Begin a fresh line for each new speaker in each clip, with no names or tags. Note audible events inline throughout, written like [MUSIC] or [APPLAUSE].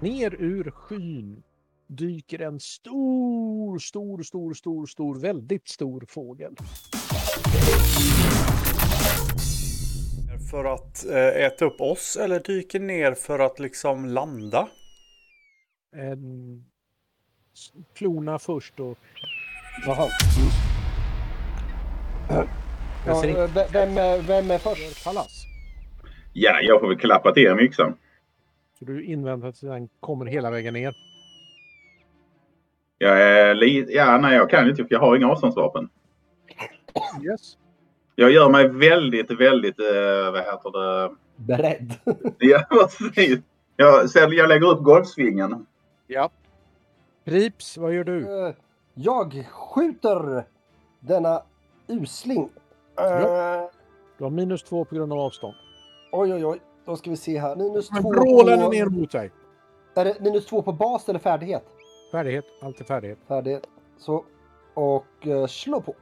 Ner ur skyn dyker en stor, stor, stor, stor, stor, väldigt stor fågel.
För att eh, äta upp oss eller dyker ner för att liksom landa?
En... s- Klona först och... Jaha. Jag
Ja,
ser inte
eh, ve- vem, är- vem är först?
Pallas.
Ja, jag får väl klappa till med yxan.
Så du inväntar att den kommer hela vägen ner.
Jag är li- ja, nej, jag kan ju inte för jag har inga avståndsvapen.
Yes.
Jag gör mig väldigt, väldigt, eh, vad heter det? [LAUGHS]
Beredd.
Ja, precis. Jag, sen jag lägger upp golfsvingen.
Ja. Prips, vad gör du?
Eh, Jag skjuter denna usling. Eh,
Du har minus två på grund av avstånd.
Oj, oj, oj. Då ska vi se här. Minus
Men
två,
vrålar den
på,
ner mot dig.
är det minus två på bas eller färdighet?
Färdighet, allt är färdighet.
Färdighet. Så. Och eh, slå på.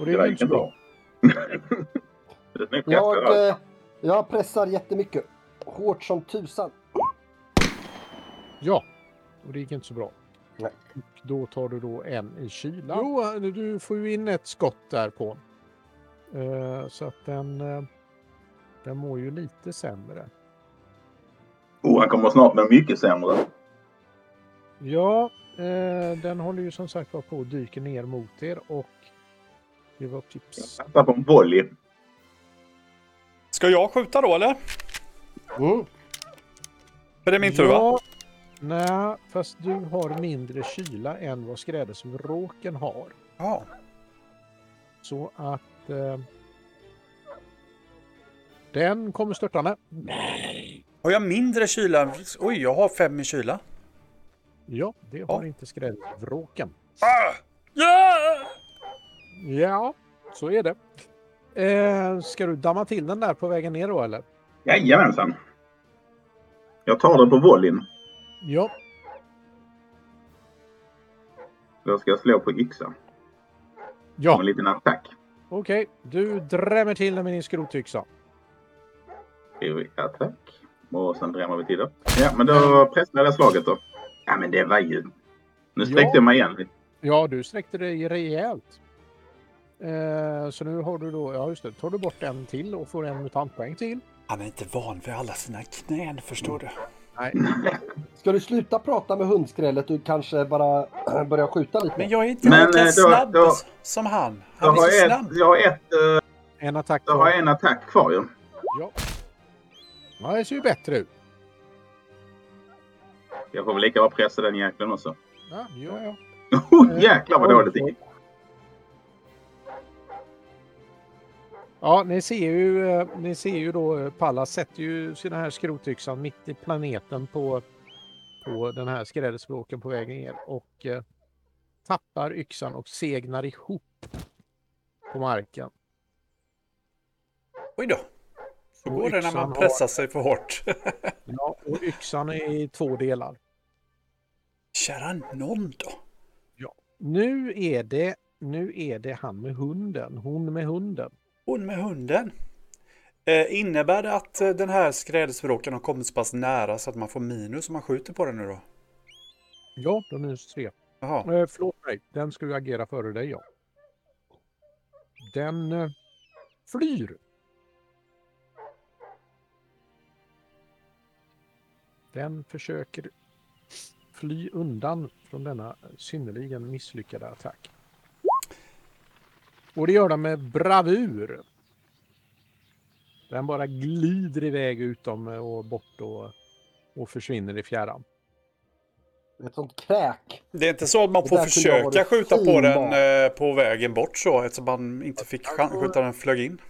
Och det
Det
är
där
väl
gick
inte så
inte
bra.
bra. [LAUGHS] Det är snyggt, jättebra.
Jag, eh, jag pressar jättemycket. Hårt som tusan.
Ja, och det gick inte så bra.
Nej.
Och då tar du då en i kylan. Jo, du får ju in ett skott där på. Eh, så att den, eh, den mår ju lite sämre.
Oh, han kommer snart med mycket sämre.
Ja, eh, den håller ju som sagt var på och dyker ner mot er och det var tips.
Satsar på en volley.
Ska jag skjuta då eller? För det är min tur va?
Ja, nej, fast du har mindre kyla än vad skrädesvråken har.
Ja.
Så att... Eh, den kommer störtande.
Har jag mindre kyla? än- Oj, jag har fem i kyla.
Ja, det har inte skräddvråken.
Ja!
Ja, så är det. Eh, ska du damma till den där på vägen ner då eller?
Jajamensan. Jag tar den på volleyn.
Ja,
Då ska jag slå på yxa. Som
ja.
en liten attack.
okej. Du drämmer till den med din skrotyxa.
Skriver attack. Och sen drämmer vi till det. Ja, men då pressar jag slaget då. Ja, men det var ju... Nu sträckte
Ja.
jag mig igen.
Ja, du sträckte dig rejält. Eh, så nu har du då, ja just det, tar du bort en till och får en mutantpoäng till.
Han är inte van vid alla sina knän, förstår du?
Ska du sluta prata med hundskrället och kanske bara [CLEARS THROAT] börja skjuta lite?
Men jag är inte
Men,
lika
eh, då-
snabb
då-
som han.
Jag
Han är
har,
så
ett,
snabb.
jag, har ett, eh,
En attack
jag har en attack kvar ju.
Ja, det ser ju bättre ut.
Jag får väl lika bra pressa den jäkeln också. [LAUGHS]
Ja, ja, ja.
Oh, jäklar vad dåligt det gick.
Ja, ni ser ju, eh, ni ser ju då eh, Pallas sätter ju sina här skrotyxan mitt i planeten på, på den här skrädespråken på vägen ner och eh, tappar yxan och segnar ihop på marken.
Oj då. Så
Och
går det när
yxan
man
har-
pressar sig för hårt. [LAUGHS]
Ja, och yxan är i två delar.
Kära nån då.
Nu är det, nu är det han med hunden, hon med hunden.
Hon med hunden. Eh, innebär det att eh, den här skrädespråken har kommit så pass nära så att man får minus om man skjuter på den nu då?
Ja, de är minus tre.
Jaha.
Eh, förlåt mig, den ska ju agera före dig, ja. Den eh, flyr. Den försöker fly undan från denna synnerligen misslyckade attack. Och det gör den med bravur. Den bara glider iväg utom och bort och, och försvinner i fjärran.
Ett sånt kräk.
Det är inte så att man
Det
får
där kunde ha
försöka
varit
skjuta på
fin
den
mat.
eh, på vägen bort så eftersom man inte fick chans utan den flög in.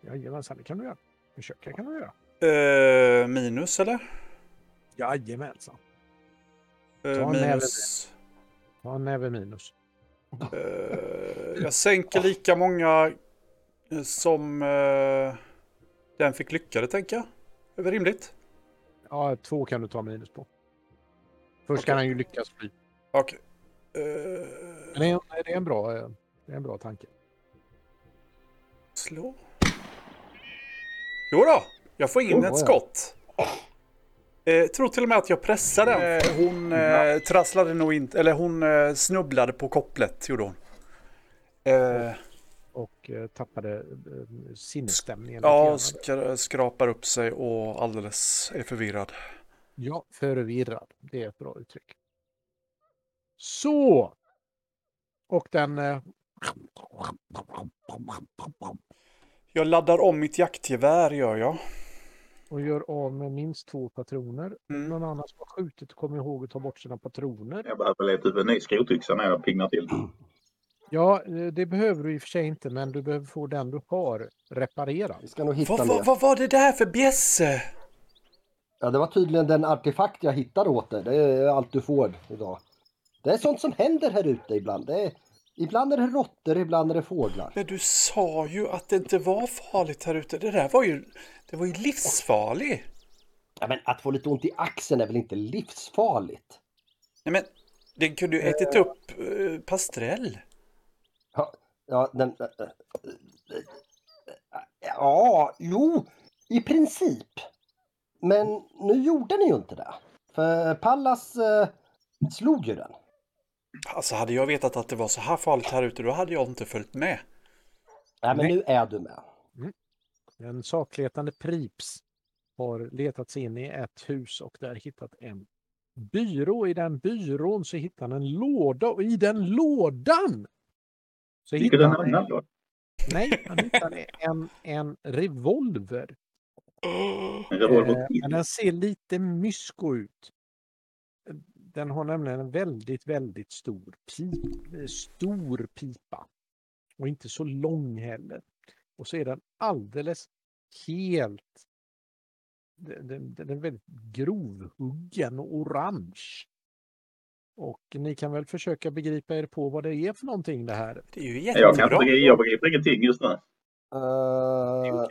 Jajamensan, det kan du göra. Försöka kan du göra.
Eh, minus eller?
Jajamensan.
Eh,
Ta
minus.
Ja, näve minus.
Eh, jag sänker lika många eh, som eh, den fick lyckade tänker jag. Det är väl rimligt?
Ja, två kan du ta minus på. Först kan han ju lyckas fly.
Okej. Eh,
Men det är, nej, det är, en, bra, eh, det är en bra tanke.
slå. Jo då, Jag får in
Oh,
ett
ja.
skott. Eh, tror till och med att jag pressar den. Eh, hon eh, trasslade nog inte, eller hon eh, snubblade på kopplet gjorde hon. Eh,
och eh, tappade eh, sinnesstämningen. lite
ja,
grann.
skra- skrapar upp sig och alldeles är förvirrad.
ja, förvirrad. Det är ett bra uttryck. Så! Och den... eh,
Jag laddar om mitt jaktgevär gör jag.
Och gör av med minst två patroner.
Mm.
Någon annan som har skjutit kommer ihåg att ta bort sina patroner.
Jag behöver leta upp en ny skrotyxa när jag pignar till.
Ja, eh, det behöver du i och för sig inte, men du behöver få den du har reparerad.
Vi ska nog hitta
Vad
mer.
vad- vad var det där för bjässe?
Ja, det var tydligen den artefakt jag hittade åt dig. Det är allt du får idag. Det är sånt som händer här ute ibland. Det är, ibland är det råttor, ibland är det fåglar.
Men du sa ju att det inte var farligt här ute. Det där var ju, det var ju livsfarligt.
Ja, men att få lite ont i axeln är väl inte livsfarligt?
Nej men, den kunde ju ätit upp eh, pastrell.
Ja, ja, den, ja, jo, i princip. Men nu gjorde ni ju inte det. För Pallas eh, slog ju den.
Alltså hade jag vetat att det var så här farligt här ute, då hade jag inte följt med.
Nej, men
Nej.
nu är du med.
En sakletande Prips har letat sig in i ett hus och där hittat en byrå. I den byrån så hittar han en låda och i den lådan så
Vilket
hittar
en
han,
annan då?
nej, han hittar en, en revolver.
En
Eh,
revolver
men den ser lite mysko ut. Den har nämligen en väldigt, väldigt stor, pip, eh, stor pipa. Och inte så lång heller. Och så är den alldeles helt... Den, den, den är väldigt grovhuggen och orange. Och ni kan väl försöka begripa er på vad det är för någonting det här.
Det är ju
Jag kan
jättebra.
inte, jag begriper ingenting just nu.
Eh,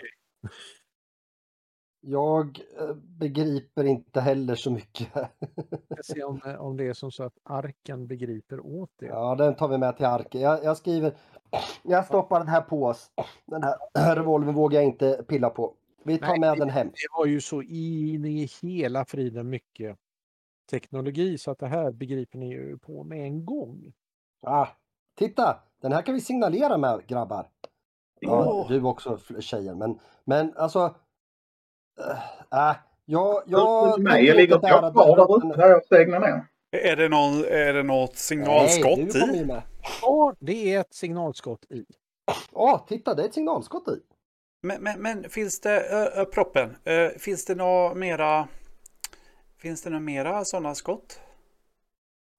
jag eh, begriper inte heller så mycket.
Jag ska se om, om det är som så att arken begriper åt
Typ.
det.
Ja, den tar vi med till arken. Jag, jag skriver... Jag stoppar den här på oss. Den här [CLEARS THROAT] revolvern vågar jag inte pilla på. Vi tar
Nej,
med
det-
den hem.
det var ju så in i hela friden mycket teknologi så att det här begriper ni ju på med en gång.
Ah, titta! Den här kan vi signalera med grabbar. Ja,
Åh.
du också fl- tjejer, men, men alltså... Äh, äh, jag... jag
Nej, jag ligger och jag kvar där ute när jag segnar ner.
Är det, någon, är det något signalskott
Nej, du kommer
i?
ju med.
Ja, det är ett signalskott i.
Åh, titta! Det är ett signalskott i.
Men, men, men finns det, ö, ö, proppen, ö, finns det några mera, finns det några mera sådana skott?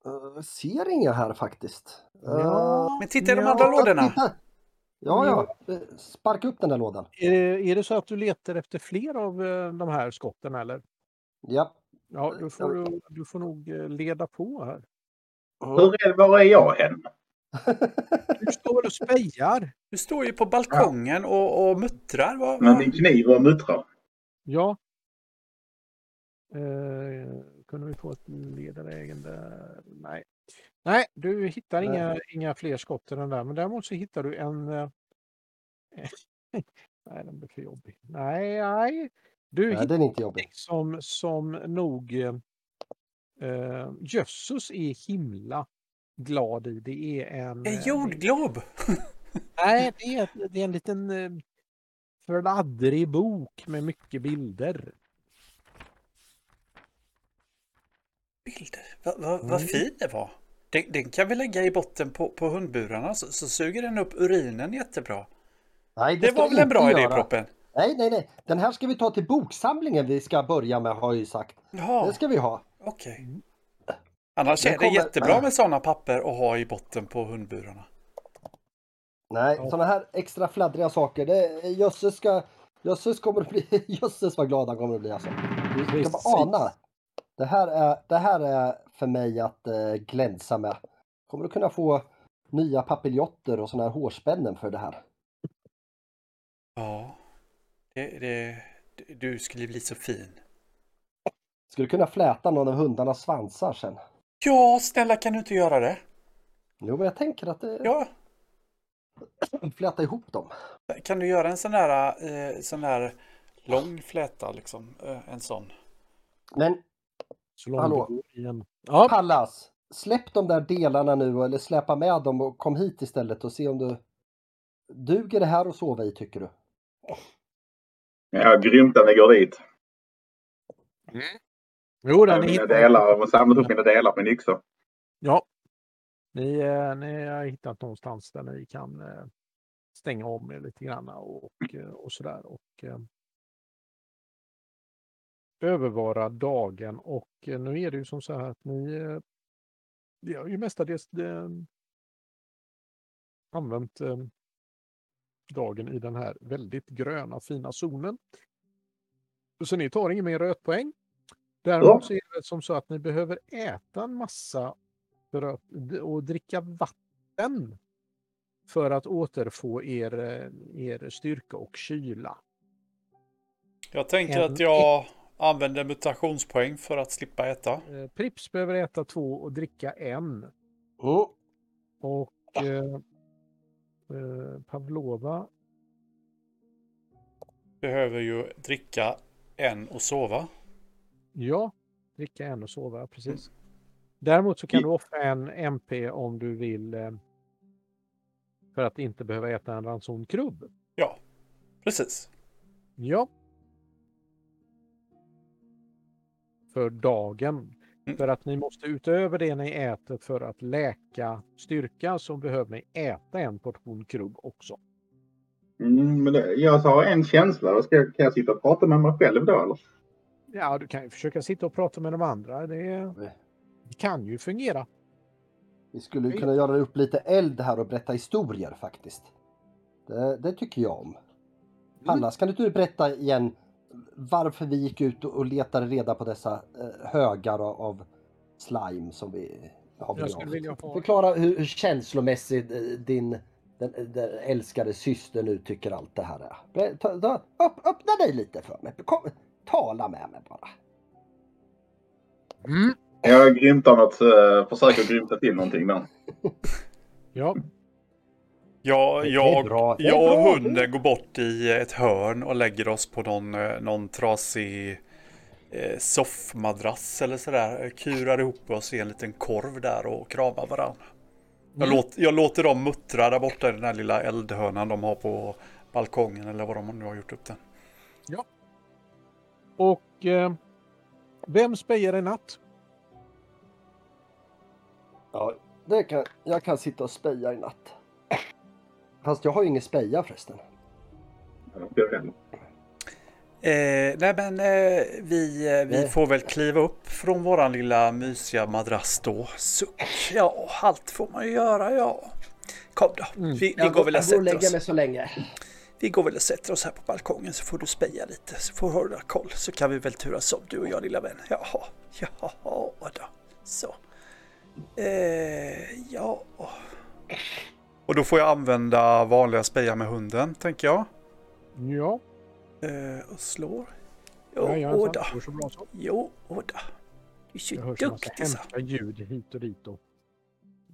Eh, ser inga här faktiskt. Eh,
Ja,
Men titta i de
ja.
andra lådorna. Mm.
titta. Ja, ja. Eh, Sparka upp den där lådan.
Är det, är det så att du letar efter fler av eh, de här skotten eller?
Ja.
Ja, du får, du- du får nog eh, leda på här.
[LAUGHS]
Hur är, var är jag än?
Du står och spejar.
Du står ju på balkongen och, och muttrar. Vad,
Med
vad?
min kniv och muttrar.
Ja. Eh, kunde vi få ett ledarägen där? Nej. Nej, du hittar
Nej.
inga, inga fler skott än den där, men däremot så hittar du en... eh, [LAUGHS] nej, den blir för jobbig. Nej, nej. Du
Nej,
hittar
den är inte jobbig.
någonting som, som nog eh, eh, Jösses är himla glad i. Det är en...
En
eh,
jordglob?
Nej, det är, det är en liten eh, fladdrig bok med mycket bilder.
Bilder. Vad va, vad
Mm.
fin det var. Den, den kan vi lägga i botten på, på hundburarna så, så suger den upp urinen jättebra.
Nej,
Det
ska
var
vi
väl en
inte
bra idé
göra.
Proppen?
Nej, nej, nej. Den här ska vi ta till boksamlingen vi ska börja med har jag ju sagt.
Jaha,
Det ska vi ha.
okej. Annars
Den
är det
kommer-
jättebra med sådana papper att ha i botten på hundburarna.
Nej,
Ja.
sådana här extra fladdriga saker. Det, jösses ska... Jösses kommer att bli... [LAUGHS] Jösses vad glad han kommer att bli alltså. Du ska bara
Precis.
ana. Det här är, det här är för mig att eh, glänsa med. Kommer du kunna få nya papiljotter och sådana här hårspännen för det här?
Ja, det, det, du skulle bli så fin.
Skulle du kunna fläta någon av hundarnas svansar sen?
Ja, snälla kan du inte göra det?
Jo, men jag tänker att det...
Ja,
fläta ihop dem.
kan du göra en sån där, eh, sån där Lång fläta liksom. Eh, En sån.
Men
Så långt
Hallå.
det går igen. Ja,
Pallas, släpp de där delarna nu eller släpa med dem och kom hit istället och se om du... Duger det här att sova i tycker du?
Ja, grymt att ni går dit.
jo, då,
Jag
ni
mina
hittar-
delar, jag har samlat upp mina delar på min yxa.
Ja. Ni, eh, ni har hittat någonstans där ni kan eh, stänga om er lite grann och, eh, och sådär. Och, eh, övervara dagen och eh, nu är det ju som så här att ni eh, vi har ju mestadels eh, använt eh, dagen i den här väldigt gröna fina zonen. Så ni tar ingen mer rötpoäng. Däremot så är det som så att ni behöver äta en massa för att, och dricka vatten för att återfå er, eh, er styrka och kyla.
Jag tänker
En-
att jag använder mutationspoäng för att slippa äta.
Eh, Prips behöver äta två och dricka en.
Mm.
Och eh, eh, Pavlova,
Behöver ju dricka en och sova.
ja, dricka en och sova, precis. Däremot så kan du offra en MP om du vill eh, för att inte behöva äta en ransonkrub.
Ja, precis.
Ja. För dagen.
Mm.
För att ni måste utöver det ni äter för att läka styrka så behöver ni äta en portion krubb också.
Mm, men det, jag har en känsla. Då Ska, jag- kan jag sitta och prata med mig själv då eller?
Ja, du kan ju försöka sitta och prata med de andra. Det kan ju fungera.
Vi skulle ju kunna göra upp lite eld här och berätta historier faktiskt. Det, det tycker jag om. Pallas, kan inte du berätta igen varför vi gick ut och- och letade reda på dessa eh, högar av- av slime som vi har
Jag
begravt?
skulle vilja ha-
Förklara hur, hur känslomässigt eh, din den, eh, den älskade syster nu tycker allt det här är. Ber- ta- ta- öpp- Öppna dig lite för mig. Kom, tala med mig bara.
Mm.
Jag grymtar något, eh, försöker grymta till någonting där.
Ja,
Ja,
Det är
jag,
bra. Det är
jag och
bra.
hunden går bort i ett hörn och lägger oss på någon, eh, någon trasig eh, soffmadrass eller sådär. Kurar ihop oss i en liten korv där och kramar varandra. Jag,
Mm.
låt, jag låter dem muttra där borta i den här lilla eldhörnan de har på balkongen eller vad de nu har gjort upp den.
och eh, vem spejar i natt?
Ja, det kan, jag kan sitta och speja i natt. Fast jag har ju ingen speja förresten.
Jag själv.
Eh, nej men eh, vi, eh, vi
Nej.
får väl kliva upp från våran lilla mysiga madrass då. Suck, ja, halt får man ju göra, ja. Kom då,
Mm.
vi, vi går väl och sätter oss.
så länge.
Vi går väl och sätter oss här på balkongen så får du speja lite, så får du hålla koll, så kan vi väl turas om du och jag lilla vän. Jaha, jaha då. Så. Eh, ja. Och då får jag använda vanliga speja med hunden, tänker jag.
Ja,
Eh, och slår.
jag
Jo,
gör
åda.
så. Går så bra så.
Jo, åda. Du är så
Jag hör så massa
duktig så.
hemska ljud hit och dit. Och,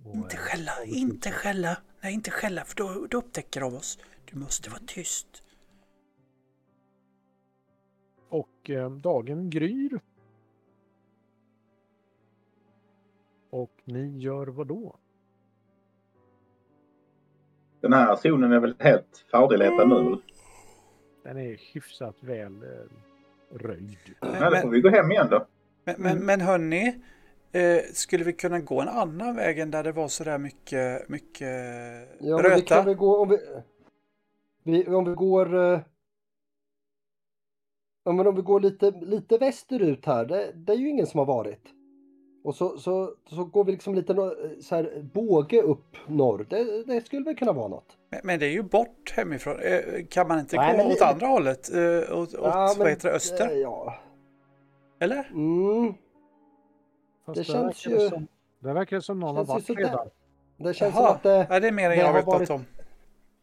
och,
Inte
eh,
skälla,
avundsjuk.
inte skälla. Nej, inte skälla, för då, då upptäcker de oss. Du måste vara tyst.
Och eh, dagen gryr. Och ni gör vad då?
Den här zonen är väl helt färdigletad nu?
Den är hyfsat väl eh, röjd.
Mm.
Nej, då får vi gå hem igen då.
Men, men, men hörni, eh, skulle vi kunna gå en annan väg än där det var så där mycket, mycket
Ja, men vi
röta?
kan väl gå om vi... vi om vi går... eh, Ja, men om vi går lite, lite västerut här, det, det är ju ingen som har varit. Och så, så, så går vi liksom lite nå- så här, båge upp norr. Det, det skulle väl kunna vara något.
Men, men det är ju bort hemifrån. Eh, kan man inte
Nej,
gå
men-
åt andra hållet? Eh, åt åt
Ja, men-
vad heter det, öster?
eh, Ja.
Eller?
Mm.
Fast
Det
där
känns
verkar det
ju-
Som, där verkar det som någon har
Känns ju
varit
sådär.
redan.
Det känns
Jaha.
som att det...
Ja, det är mer än
det
jag
har
vet något
varit-
om.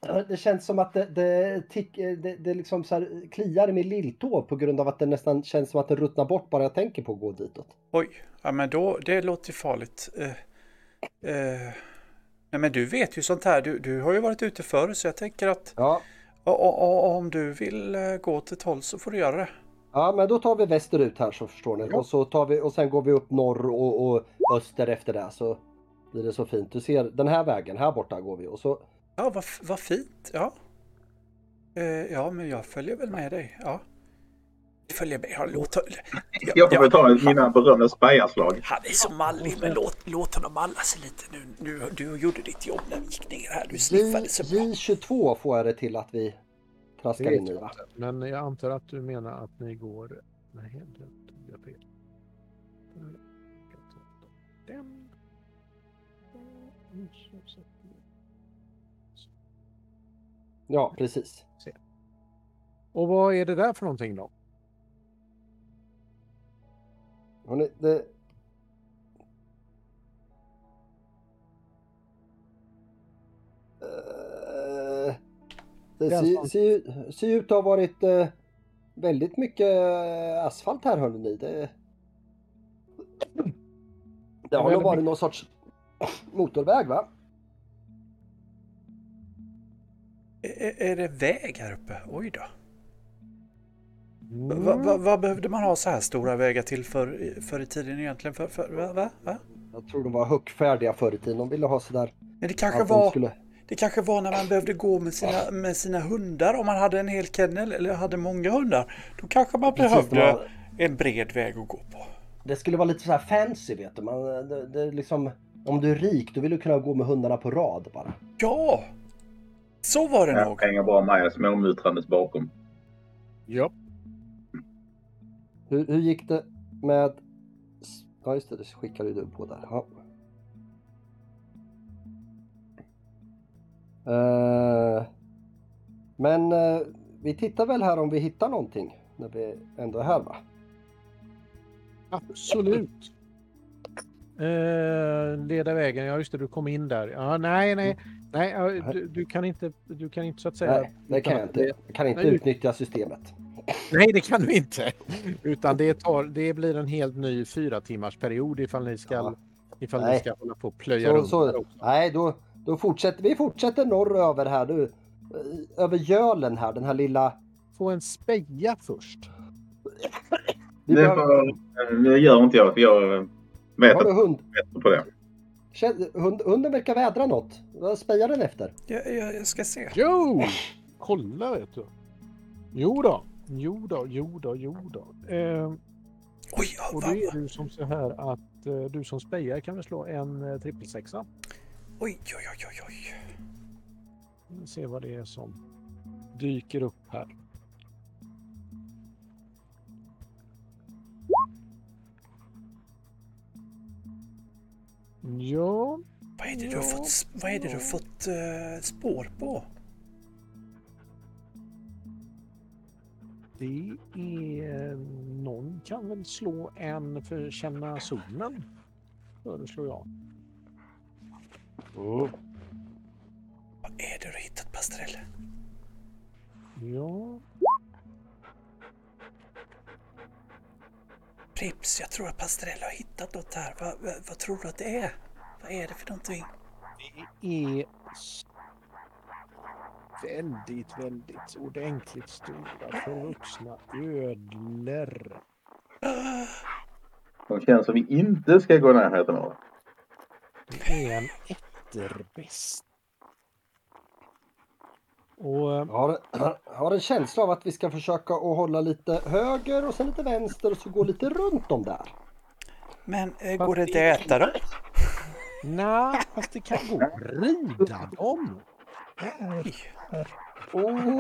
Ja, Det känns som att det, det, tick, det, det liksom så här kliar i min lilltå på grund av att det nästan känns som att det ruttnar bort bara jag tänker på att gå ditåt.
Oj, ja, men då, det låter ju farligt. Eh, eh, nej, men du vet ju sånt här. Du, du har ju varit ute förr, så jag tänker att
Ja,
Och, och, och, om du vill eh, gå till tolv så får du göra det.
Ja, men då tar vi västerut här så förstår ni.
Ja.
Och, så tar vi, och sen går vi upp norr och, och öster efter det så blir det så fint. Du ser den här vägen, här borta går vi. Och så,
Ja, vad, f- vad fint. Ja. Eh, ja, men jag följer väl med dig. Ja. Jag följer med. Ja, låt,
Jag får väl ta mina berömda spajarslag.
Han är så mallig, men låt, låt honom malla sig lite nu. nu. Du gjorde ditt jobb när vi gick ner här. Du sniffade så bra.
J, 22 får jag det till att vi traskar
Det
in
vet
i
jag
va?
inte, Men jag antar att du menar att ni går... Nej, det tog jag fel. Jag tar Den.
Ja, precis.
Och vad är det där för någonting då?
Hörrni, det... Eh, Det
Det är
ser,
sant.
ser, ju- ser ju ut att ha varit eh, väldigt mycket eh, asfalt här hörni. Det, det har nog
väldigt
varit
mycket.
någon sorts motorväg va?
Är, är det väg här uppe? Oj då.
Mm.
Va,
Mm.
va, vad behövde man ha så här stora vägar till för, förr i tiden egentligen? För, för, va, va, va?
Jag tror de var högfärdiga förr i tiden. De ville ha sådär
Men det kanske
att de
var...
skulle...
Det kanske var när man behövde gå med sina, med sina hundar om man hade en hel kennel eller hade många hundar. Då kanske man
Precis,
behövde
det var-
en bred väg att gå på.
Det skulle vara lite så här fancy vet du. Man, det, det är liksom, om du är rik då vill du kunna gå med hundarna på rad bara.
Ja! Så var det nog.
Jag hänger bara med småmuttrandes bakom.
Ja.
Hur, hur gick det med... Ja just det, det skickade ju du på där. Ja. Eh, men eh, vi tittar väl här om vi hittar någonting när vi ändå är här va?
Absolut. Eh, leda vägen, ja just det, du kom in där. Ja, nej, nej, nej, ja, du, du kan inte, du kan inte så att säga.
Mm. Nej, det kan jag
utan-
inte. Jag kan inte
Nej.
utnyttja systemet.
Nej, det kan du inte. Utan det, tar, det blir en helt ny fyra timmars period ifall ni ska,
Ja.
ifall ni
Nej.
ska hålla på och plöja
Så,
runt. där
så,
också.
nej, då, då fortsätter vi fortsätter norröver här nu. Eh, Över Gölen här, den här lilla...
Få en speja först.
Vi
Det,
behöver,
får- det gör inte jag, för jag vet
har
att
du
jag
hund?
är bättre på det.
Känn- Hund, hunden verkar vädra något. Vad spejar den efter?
Jag, jag, jag ska se.
Jo! Kolla vet du. Jo då. Jo då, jo då, jo då. Eh,
Oj, ja,
och
va,
då är det ju som så här att eh, du som spejare kan väl slå en eh, trippelsexa.
oj, oj, oj, oj, oj.
Vi ser vad det är som dyker upp här. Ja,
Vad är det du har fått, s- vad är det du har fått eh, spår på?
det är... Någon kan väl slå en för att känna zonen, föreslår jag.
Vad är det du har hittat, Pastrell?
Ja,
Prips, jag tror att Pastrell har hittat något här. Va, va, vad tror du att det är? Vad är det för någonting?
är s- väldigt, väldigt ordentligt stora förvuxna ödlor.
De känns som vi inte ska gå i närheten av.
Det är en ätterbäst. Och eh,
Jag har, jag har en känsla av att vi ska försöka att hålla lite höger och sen lite vänster och så gå lite runt dem där.
Men eh, går det inte att äta dem?
nej, fast det kan gå att rida dem.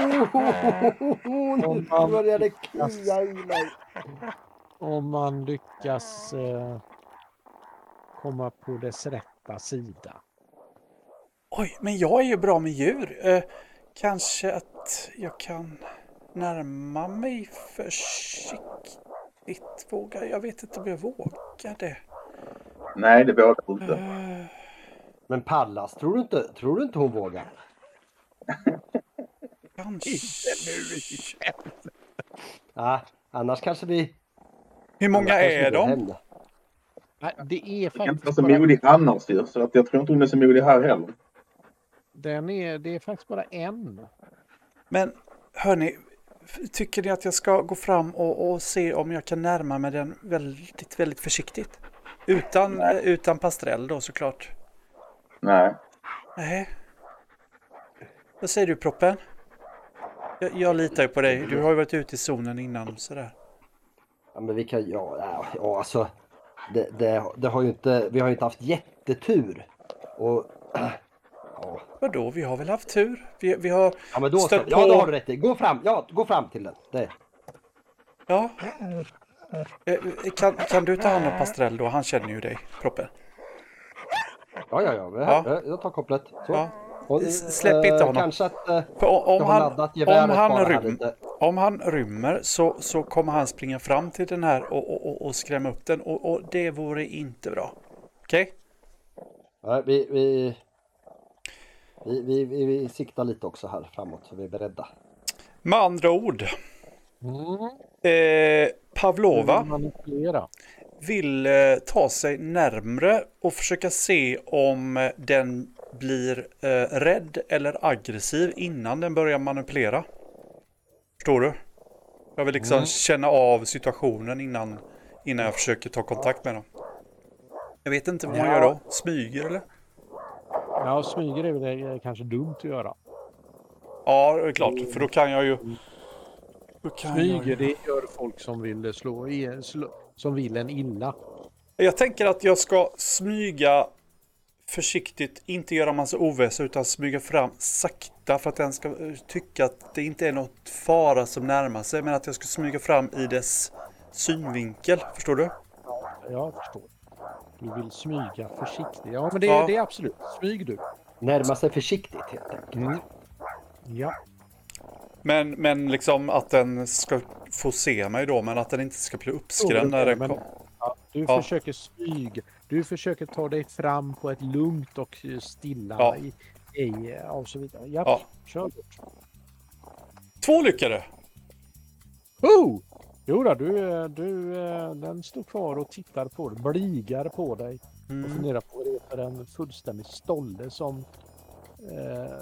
Oh, nu börjar det klia i mig.
Om man lyckas eh, komma på dess rätta sida.
Oj, men jag är ju bra med djur. Eh, kanske att jag kan närma mig försiktigt. Vågar jag? vet inte om jag vågar det.
Nej, det vågar jag inte.
Eh,
Men Pallas, tror du inte, tror du inte hon vågar?
kanske...
Ah, annars kanske vi...
Hur många
annars kanske vi
är
går
de?
hem då.
Nej, det är
Jag kan inte vara
faktiskt
så
bara,
modig annars ju, så att jag tror inte hon är så modig här heller.
den är, det är faktiskt bara en.
Men hörni, tycker ni att jag ska gå fram och, och se om jag kan närma mig den väldigt, väldigt försiktigt? Utan, eh, utan pastrell då såklart.
Nej.
Nej. Vad säger du Proppen? Jag, jag litar ju på dig. Du har ju varit ute i zonen innan sådär.
Ja, men vi kan, ja, ja, ja alltså. Det, det, det har ju inte, vi har ju inte haft jättetur. Och, ja,
Vadå, vi har väl haft tur? Vi, vi har
ja, men då, så,
stött
ja,
på...
då har du rätt i. Gå fram, ja, gå fram till den. Det.
Ja. Eh, Kan, kan du ta hand om Pastrell då? Han känner ju dig, Proppen.
Ja, ja, ja. men
Ja.
Här, Jag tar kopplet. Så.
Ja.
Och,
S- släpp inte
eh,
honom.
Kanske att... eh,
För o- om
Jag har
han,
laddat geväret
om han,
bara här
rym,
lite.
om han rymmer så, så kommer han springa fram till den här och, och, och, och skrämma upp den. Och, och det vore inte bra. Okej?
nej, vi, vi, vi, vi, vi, vi siktar lite också här framåt så vi är beredda.
Med andra ord.
Mm.
Eh, Pavlova
Manipulera.
vill eh, ta sig närmre och försöka se om eh, den blir eh, rädd eller aggressiv innan den börjar manipulera. Förstår du? Jag vill liksom känna av situationen innan, innan jag försöker ta kontakt med dem. Jag vet inte vad man gör då. Smyger eller?
Ja, smyger är väl det kanske dumt att göra.
Ja, det är klart. För då kan jag ju... Då kan jag,
Smyger,
ju-
det gör folk som vill slå, i- slå som vill en illa.
jag tänker att jag ska smyga försiktigt, inte göra massa oväsen utan smyga fram sakta för att den ska eh, tycka att det inte är något fara som närmar sig men att jag ska smyga fram i dess synvinkel. Förstår du?
Jag förstår. Du vill smyga försiktigt. Ja, men det,
Ja.
det är absolut. Smyg du.
Närma sig försiktigt helt enkelt.
Mm.
Ja.
Men, men liksom att den ska få se mig då men att den inte ska bli uppskrämd när den
Men-
kom.
Ja, du
Ja.
försöker smyg. Du försöker ta dig fram på ett lugnt och eh, stilla
Ja.
i, i, eh, och så vidare. Ja,
Ja.
kör bort.
Två lyckade!
Oh! Jo då, du, eh, du, eh, den står kvar och tittar på dig, bligar på dig och
Mm.
funderar på vad det är för en fullständig stolle som eh,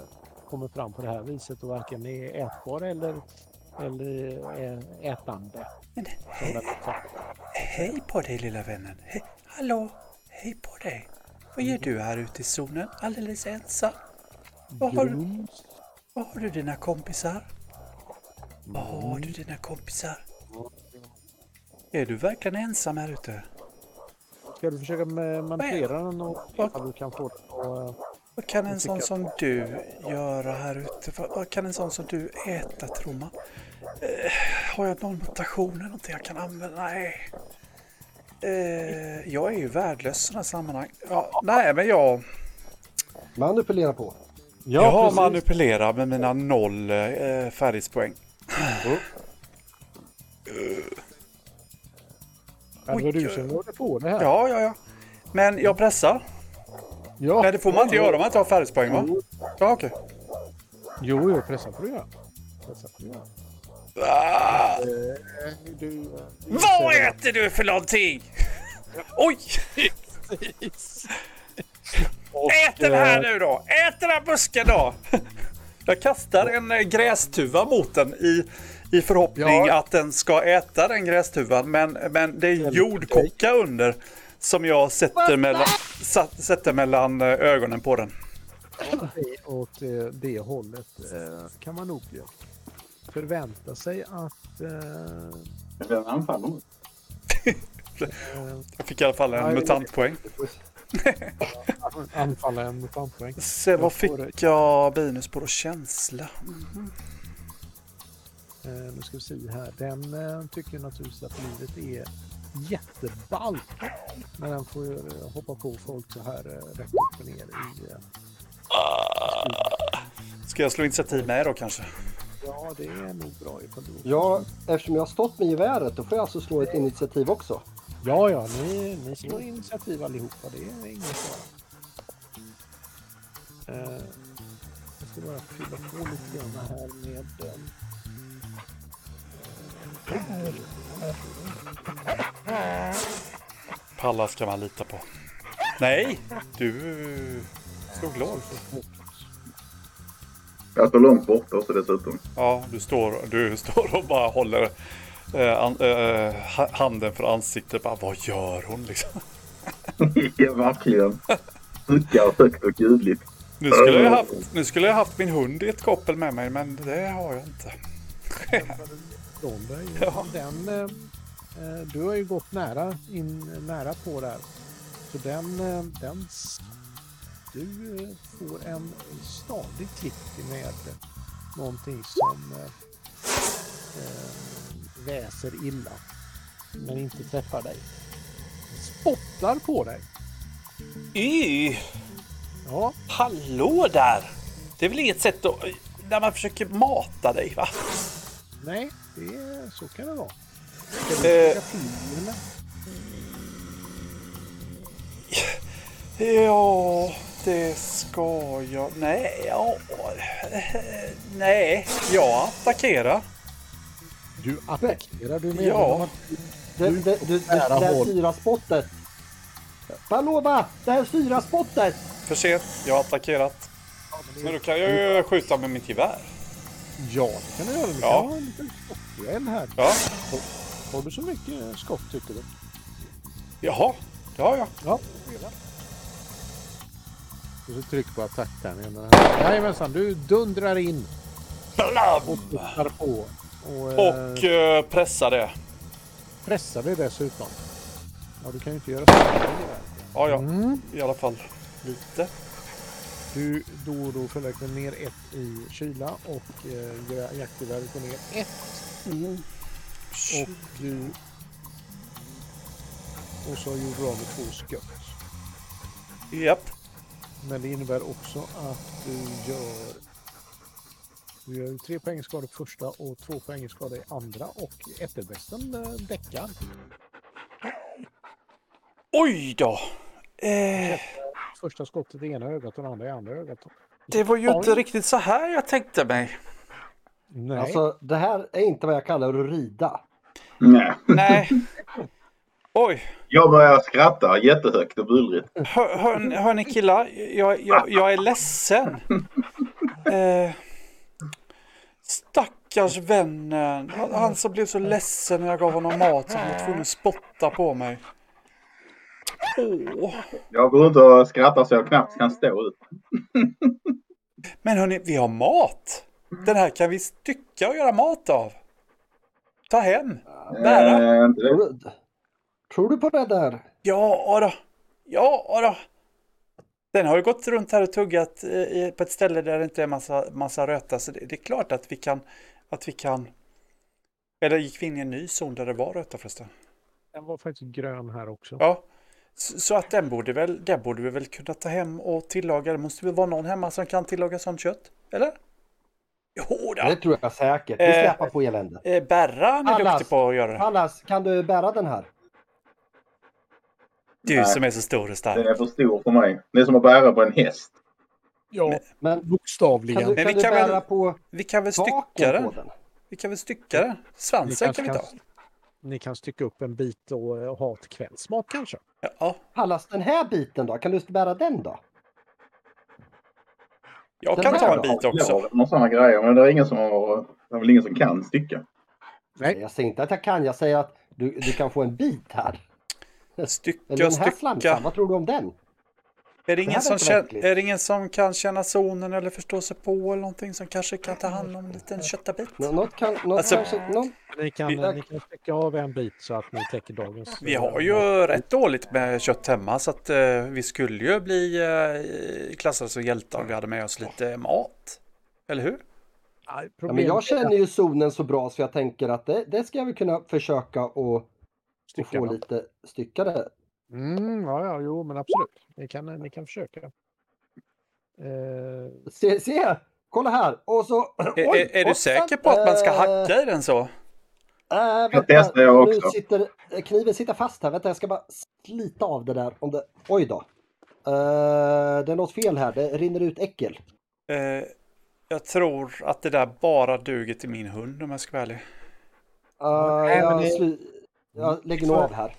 kommer fram på det här viset och varken är ätbar eller, eller eh, ätande.
Men
som den uppfattar.
Hej på dig lilla vännen. He- Hallå, hej på dig. Vad gör du här ute i zonen alldeles ensam? Var har, du-
Grums.
var har du dina kompisar? Var har du dina kompisar? Är du verkligen ensam här ute?
Ska du försöka ma- manipulera den och se om du kan få den att, eh,
Vad kan en sån
tycker
som du göra här ute? Vad, vad kan en sån som du äta tror man? Eh, har jag någon mutation eller någonting jag kan använda? Nej. Eh, jag är ju värdelös i sådana sammanhang. Ja, nej, men jag...
Manipulera på.
Ja,
jag har
precis.
manipulerat med mina noll eh, färdighetspoäng.
Ja, det var du som gjorde på det här.
Ja, ja, ja. Men jag pressar.
Ja.
Nej, det får man inte göra om man inte har färdighetspoäng, va? Ja, okej.
Jo, jo, pressa får du göra. Pressa får du göra.
Ah,
Eh, Du, eh,
vad äter du för någonting? Oj!
och,
Ät den här
eh,
nu då! Ät den här busken då! Jag kastar en eh, grästuva mot den i, i förhoppning
Ja.
att den ska äta den grästuvan. Men, men det är jordkocka under som jag sätter mellan, satt- sätter mellan eh, ögonen på den.
Åt eh, det hållet eh, kan man nog eh, förvänta sig att... eh,
Men Den anfaller nu.
Jag fick i alla fall en
Ja, det-
mutantpoäng.
Anfalla en mutantpoäng.
Se, vad fick jag minus på då? Känsla?
Eh, Nu ska vi se här. Den eh, tycker naturligtvis att livet är jätteballt. Men den får ju eh, hoppa på folk så här eh, rätt upp och ner i... eh,
Ska jag slå initiativ med då kanske?
Ja, det är nog bra ifall du...
Ja, eftersom jag har stått med geväret då får jag alltså slå ett initiativ också.
Ja, ja, ni, ni slår initiativ allihopa. Det är ingen fara. Eh, jag ska bara fylla på lite grann här med eh, den.
Pallas ska man lita på. Nej, du slog lågt.
Jag står långt borta också dessutom. [LAUGHS]
Ja, du står, du [LAUGHS] står och bara håller eh, an, eh, ha- handen för ansiktet. Bara, vad gör hon liksom?
ja, verkligen. Suckar högt och ljudligt.
Nu skulle, jag haft, nu skulle jag haft min hund i ett koppel med mig, men det har jag inte.
från dig.
Ja.
Den, eh, eh, du har ju gått nära, in, nära på där. Så den, eh, den s- du eh, får en stadig klick med någonting som eh, eh, väser illa. Men inte träffar dig. Spottar på dig.
Y,
Ja,
hallå där! Det är väl inget sätt att... När man försöker mata dig, va?
nej, det, är- så kan det vara.
Eh,
Jag finner den.
Ja, det ska jag. Nej, ja. eh, Nej, jag attackerar.
Du attackerar, du menar
Ja.
att
Det, det, det, det, det
Nära
här
håll.
syrasspottet. Palova! Det här syrasspottet!
För sent, jag har attackerat. Men då kan jag ju skjuta med mitt gevär.
Ja, det kan du göra. Du
Ja.
kan ha en liten skottduell här.
Ja,
Har du så mycket skott tycker du?
jaha. Ja, ja.
Ja. Och så tryck på attacktärningen. Jajamensan, du dundrar in och
Blam!
puttar på. Och, eh,
Och eh, pressa det.
pressar det dessutom. Ja, du kan ju inte göra så.
Ja, ja.
Mm.
I alla fall lite.
Du då och då följer ner ett i kyla och eh, jaktgeväret går ner ett. Och du... Och så gjorde du av med två skott.
Japp.
Men det innebär också att du gör... Du gör ju tre poäng skada på första och två poäng skada i andra och ätterbesten eh, däckar.
Oj då! Eh,
Första skottet i ena ögat och det andra i andra ögat.
det var ju inte riktigt så här jag tänkte mig.
Nej,
Alltså det här är inte vad jag kallar att rida.
Nej.
Nej. Oj,
Jag börjar skratta jättehögt och bullrigt.
hör, hör, hör ni killar? Jag, jag, jag är ledsen. Eh, stackars vännen. Han- Han som blev så ledsen när jag gav honom mat så han var tvungen att spotta på mig. Åh.
Jag går runt och skrattar så jag knappt kan stå ut.
Men hörni, vi har mat! Den här kan vi stycka och göra mat av. Ta hem! Bära!
Eh, inte det.
Tror du, tror du på det där?
Ja då. Ja då. Den har ju gått runt här och tuggat eh, i- på ett ställe där det inte är massa, massa röta, så det, det är klart att vi kan... Att vi kan... Eller gick vi in i en ny zon där det var röta förresten?
den var faktiskt grön här också.
Ja. Så, så att den borde, väl, den borde vi väl kunna ta hem och tillaga. Det måste väl vara någon hemma som kan tillaga sånt kött? Eller? Jo, då.
Det tror jag säkert. Vi
Eh,
släpar på eländet.
Eh, Berra han är
Allas.
duktig på att göra det.
Pallas, kan du bära den här?
Du som är så stor och stark.
Den är för stor för mig. Det är som att bära på en häst.
Ja,
Men kan
bokstavligen.
du,
Men vi
kan du
kan väl
bära på
Vi kan väl stycka
taken på
den?
den?
Vi kan väl stycka den? Svansen kan vi ta.
ni kan stycka upp en bit och eh, ha till kvällsmat kanske.
Ja,
Pallas, den här biten då? Kan du bära den då?
jag
Den
kan
här
ta en
då?
bit
Ja,
också.
och sådana grejer. Men det är ingen som har... Det är väl ingen som kan stycka.
Nej.
Jag säger inte att jag kan, jag säger att du, du kan få en bit här. Eller
Stycka,
den här slamsan,
stycka.
vad tror du om den?
Är det,
här
ingen som
verkar
känner,
verkligt.
är det ingen som kan känna zonen eller förstå sig på eller någonting som kanske kan ta hand om en liten köttabit?
Nå- Något kan... Något
Alltså-
kanske, någon...
Ni kan, eh,
Vi-
ni kan stycka av en bit så att ni täcker dagens...
Vi har ju rätt dåligt med kött hemma så att eh, vi skulle ju bli eh, klassade som hjältar om vi hade med oss lite mat. Eller hur?
Nej,
Ja, men
problemet är
jag
att
känner ju zonen så bra så jag tänker att det, det ska jag väl kunna försöka och, och
stycka
få
den.
lite styckare.
Mm, ja, ja, jo, men absolut. Ni kan, ni kan försöka. Eh,
Se, se! Kolla här! Och så... [CLEARS THROAT]
Är,
Oj,
är, är du
hoppsan!
säker på att man ska
Eh,
hacka i den så?
eh,
Jag
vänta,
testar jag också.
Nu sitter, kniven sitter fast här. Vänta, jag ska bara slita av det där. Om det, oj då. Eh, det är något fel här. Det rinner ut äckel.
Eh, jag tror att det där bara duger till min hund om jag ska vara ärlig.
Eh,
Nej, men
jag,
det-
slu, jag lägger nog av här.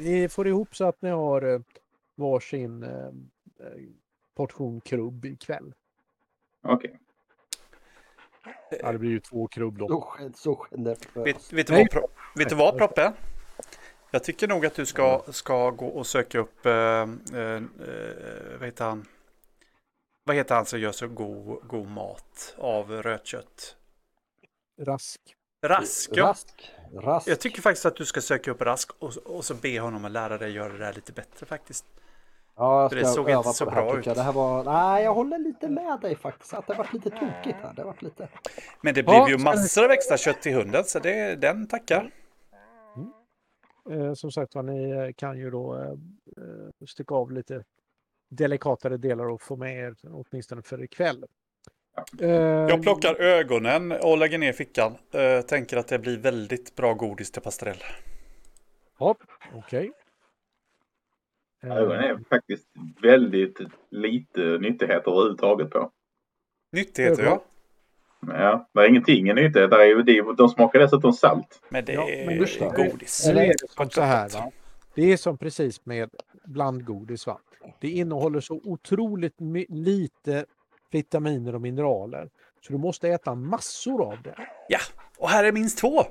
ni får ihop så att ni har eh, varsin eh, eh, portion krubb ikväll.
Okej.
Eh.
Ja, det blir ju två krubblock.
Oh.
Så, gen- så generöst.
Mm. Vet, vet, du,
Nej.
vad, Pro- vet du vad Proppe? Jag tycker nog att du ska,
Mm.
ska gå och söka upp, eh, eh, eh, vad heter han? Vad heter han som gör så god, god mat av rödkött?
Rask.
Rask, ja.
Rask. Rask.
Jag tycker faktiskt att du ska söka upp Rask och, och så be honom att lära dig göra det där lite bättre faktiskt.
Ja, jag
För
ska
det såg
öva
inte så
på det här,
bra
tycker jag.
ut.
Det här var... Nej, jag håller lite med dig faktiskt. Att det varit lite tokigt här. Det har varit lite...
Men det
Ja,
blev ju
ska vi-
massor av extra kött till hunden så det, den tackar.
Eh, som sagt var, ni eh, kan ju då eh, eh, stycka av lite delikatare delar och få med er åtminstone för ikväll. Eh,
Jag plockar ögonen och lägger ner i fickan. Eh, tänker att det blir väldigt bra godis till pastrell.
Ja, okej. Eh,
Ögonen är faktiskt väldigt lite nyttigheter överhuvudtaget på.
Nyttigheter
Ögon.
ja.
Men Ja, det är ingenting är nyttighet. Där är ju, de- de smakar dessutom salt.
Men det
Ja,
är
men
just det.
godis.
Nu
Eller-
är det som så här. Va? Det är som precis med blandgodis. Va? Det innehåller så otroligt my- lite vitaminer och mineraler. Så du måste äta massor av det.
Ja, och här är minst två.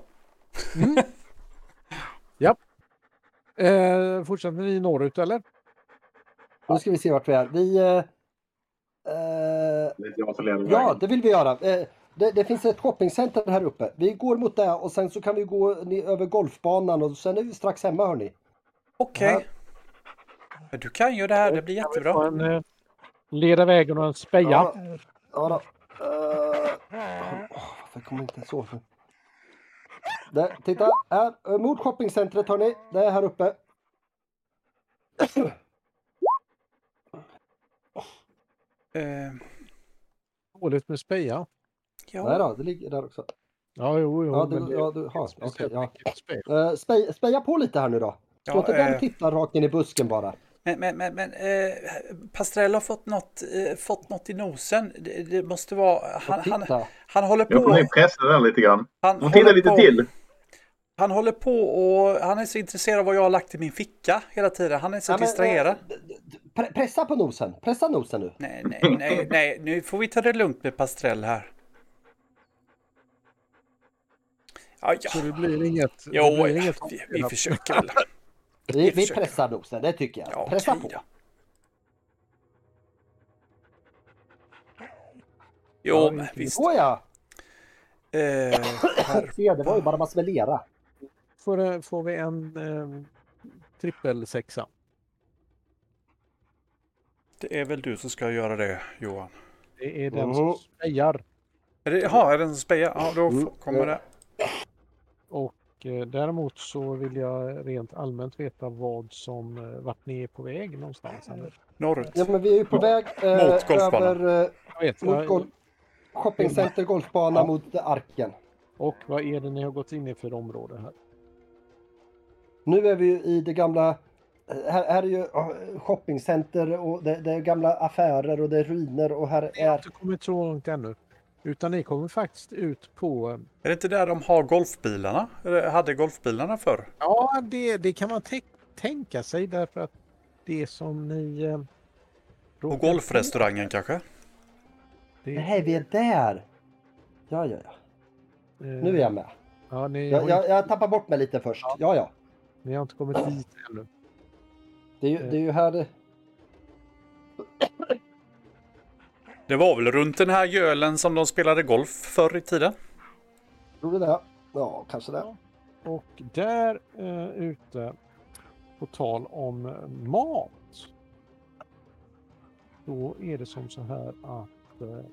Eh, fortsätter ni norrut eller?
Nu ska vi se vart vi är. Vi... Eh, eh,
Det är jag som leder
ja,
vägen.
det vill vi göra. Eh, det, det finns ett shoppingcenter här uppe. Vi går mot det och sen så kan vi gå ni- över golfbanan och sen är vi strax hemma hörni.
Okej. Men Du kan ju det här, det blir
Och
jättebra.
en eh, leda vägen och en speja.
Ja. Ja då. Eh, åh, varför kommer jag inte ens ihåg? nu? Där, titta här. eh, Mot shoppingcentret hörni. Det är här uppe.
Eh,
Dåligt med speja.
Nej
ja.
då, det ligger där också.
Ja, jo, jo.
Ja, det,
men det-
ja, du, ja, okej, ja.
Speja.
Eh, spej, speja på lite här nu då. Stå
Ja,
inte där
eh.
och titta rakt in i busken bara.
Men, men, men, men eh, Pastrell har fått något, eh, fått något i nosen. Det, det måste vara... Han, han,
Titta.
han håller
Jag får
på...
nog pressa där lite grann.
Han
Hon tittar
håller
lite
på-
till.
Han håller på och han är så intresserad av vad jag har lagt i min ficka hela tiden. Han är så
Ja, men, eh,
distraherad.
d- d- pre- Pressa på nosen. Pressa nosen nu.
Nej, nej, nej, nej, nu får vi ta det lugnt med Pastrell här. Ja, ja.
Så det blir inget... det
Jo,
blir
ja,
inget
vi, vi försöker
[LAUGHS]
väl.
Vi, vi
försöker.
pressar nosen, det tycker jag.
Ja,
pressa
okej
på.
då. Jo, men visst.
Åja!
Eh, här.
Se, det var ju bara massor med lera.
Får, eh, får vi en eh, trippelsexa.
Det är väl du som ska göra det, Johan.
Det är den som
Mhm.
spejar.
Är det, jaha, är det den som spejar? Ja, då
Mm.
f- kommer det.
Och eh, däremot så vill jag rent allmänt veta vad som, eh, vart ni är på väg någonstans.
Eh,
Anders.
Norrut.
Ja, men vi är ju på väg eh,
Mot golfbanan.
över eh,
Jag vet,
mot
jag,
gol- shoppingcenter, golfbana
Ja.
mot arken.
och vad är det ni har gått in i för område här?
Nu är vi ju i det gamla... Här, här är ju eh, shoppingcenter och det, det är gamla affärer och det är ruiner och här
Ni har
är...
inte kommit så långt ännu. Utan ni kommer faktiskt ut på... eh,
Är det inte där de har golfbilarna? Eller hade golfbilarna förr?
Ja, det, det kan man tänk- tänka sig därför att det som ni... eh,
På
Mm.
råkar-
golfrestaurangen kanske?
det,
Nej, vi är där! Ja, ja, ja. Nu är jag med.
eh, Ja, ni, har
Jag,
inte-
jag, jag tappar bort mig lite först. Ja, ja.
ni har inte kommit dit ännu.
Det är ju, det är ju här... det-
Det var väl runt den här gölen som de spelade golf förr i tiden?
Tror du det? Ja, kanske det.
Och där eh, ute, på tal om eh, mat, då är det som så här att eh,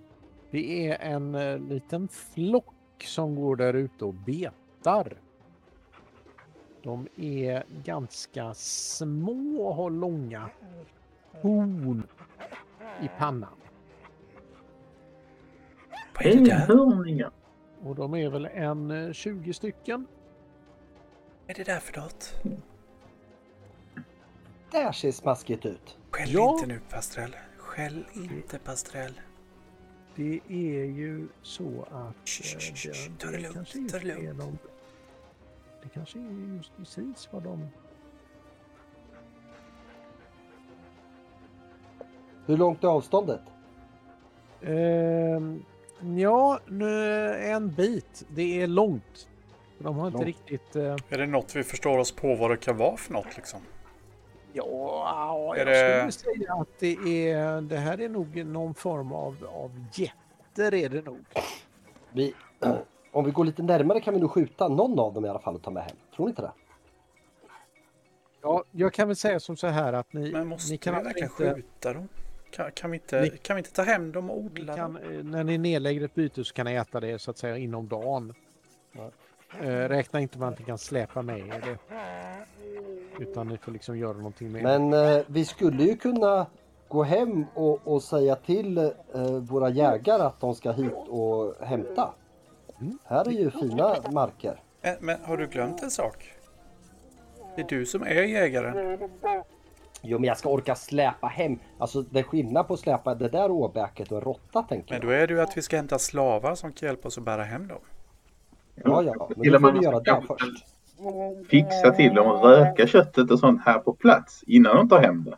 det är en eh, liten flock som går där ute och betar. De är ganska små och har långa horn i pannan.
Vad
Mm.
är det
Hej,
där?
hörningar!
Och de är väl en eh, 20 stycken.
Vad är det där för något?
Där ser smaskigt ut.
Skäll
Ja.
inte nu Pastrell. Skäll inte Pastrell.
Det är ju så att...
Shh,
eh,
shh, shh,
det-
shh, ta det lugnt,
kanske
ta det
just är
lugnt.
de- Det kanske är just precis vad de...
Hur långt är avståndet?
Ehm, Ja, nu en bit. Det är långt. De har inte
Långt.
riktigt... eh,
Är det något vi förstår oss på vad det kan vara för något liksom?
Ja,
Är
jag
det-
skulle säga att det är... Det här är nog någon form av, av jätter är det nog.
Vi, eh, om vi går lite närmare kan vi nog skjuta någon av dem i alla fall och ta med hem. Tror ni inte det?
Ja, jag kan väl säga som så här att ni,
Men måste
ni kan,
vi
alltså
verkligen
inte,
skjuta dem? Kan, kan, vi inte,
Ni-
kan vi inte ta hem dem och
ni
odla
kan,
dem?
eh, när ni nedlägger ett byte så kan ni äta det så att säga inom dagen. Eh, räkna inte med att ni kan släpa med er det. Utan ni får liksom göra någonting med det.
Men eh, vi skulle ju kunna gå hem och, och säga till eh, våra jägare att de ska hit och hämta. Här är ju fina marker.
Eh, Men har du glömt en sak? Det är du som är jägaren.
Jo men jag ska orka släpa hem. Alltså det är skillnad på att släpa det där åbäket och en råtta tänker
Men
jag.
då är det ju att vi ska hämta slavar som kan hjälpa oss att bära hem dem.
Ja ja, men
Gillar
då får
man
vi göra det
att-
först.
Fixa till dem och röka köttet och sånt här på plats innan de tar hem det.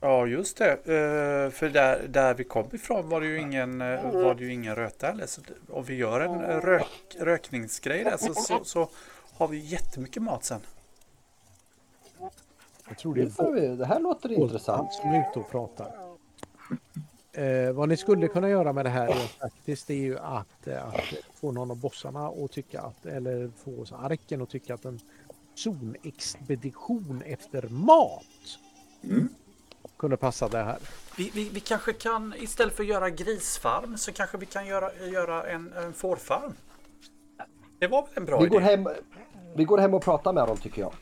Ja, just det. Eh, För där, där vi kom ifrån var det ju ingen, eh, var det ju ingen röta heller. Så det- om vi gör en eh, rök, rökningsgrej där så, så, så har vi jättemycket mat sen.
Jag tror det
Det,
är
får vi, det här låter intressant.
Intressant. som är ute och pratar. Eh, vad ni skulle kunna göra med det här är faktiskt det är ju att, eh, att få någon av bossarna att tycka att, eller få oss arken att tycka att en zonexpedition efter mat
Mm.
kunde passa det här.
Vi, vi, vi kanske kan, istället för att göra grisfarm, så kanske vi kan göra, göra en, en fårfarm. Det var väl en bra
Vi
idé?
går hem, vi går hem och pratar med dem tycker jag.